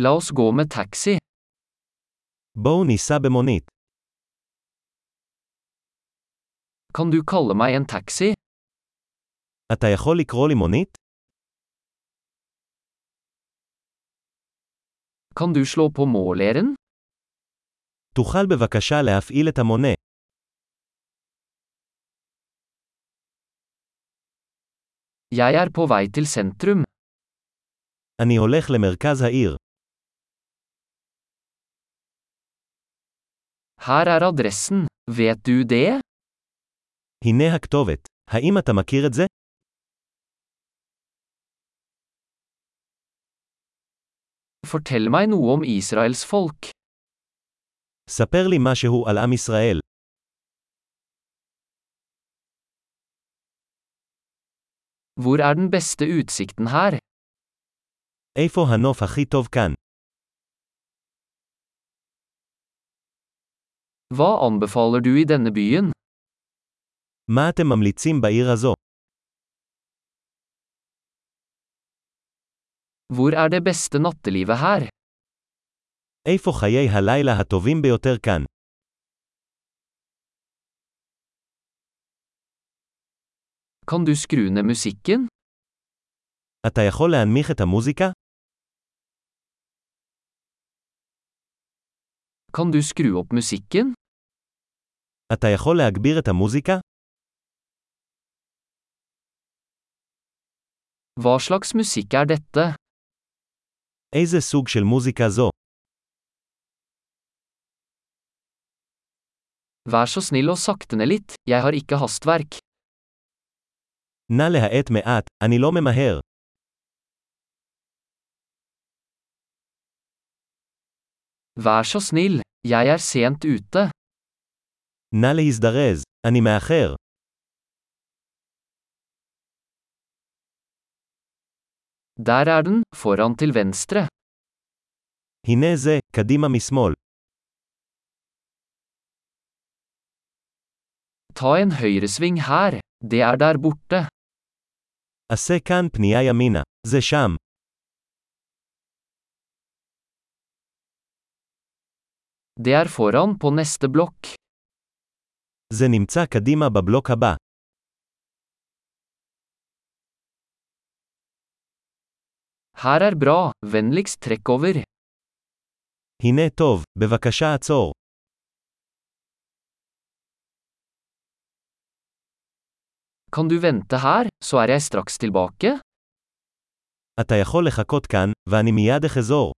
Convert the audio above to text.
La oss gå med taxi. בואו ניסע במונית. Kan du kalle meg en taxi? אתה יכול לקרוא לי מונית? Kan du slå på måleren? תוכל בבקשה להפעיל את המונה. Jeg er på vei til sentrum. אני הולך למרכז העיר. Her er adressen. Vet du det? הנה הכתובת. האם אתה מכיר את זה? Fortell meg noe om Israels folk. ספר לי משהו על עם ישראל. Hvor er den beste utsikten her? איפה הנוף הכי טוב כאן? Hva anbefaler du i denne byen? מה אתם ממליצים בעיר הזו? Hvor er det beste nattelivet her? איפה חיי הלילה הטובים ביותר כאן? Kan du skru ned musikken? אתה יכול להנמיך את המוזיקה? Kan du skru opp musikken? אתה יכול להגביר את המוזיקה? Hva slags musikk er dette? איזה סוג של מוזיקה זו? Vær så snill og sakte ned litt, jeg har ikke hastverk. נא להאט מעט, אני לא ממהר. Vær så snill, jeg er sent ute. נא להזדרז, אני מאחר. Der er den, foran til venstre. הנה זה, קדימה משמאל. Ta en høyresving her. Det er der borte. עשה כאן פנייה ימינה. זה שם. Det er foran på neste blokk. זה נמצא קדימה בבלוק הבא. Her er bra, vennligst trekk over. הנה טוב, בבקשה עצור. Kan du vente her, så er jeg straks tilbake? אתה יכול לחכות כאן, ואני מיד אחזור.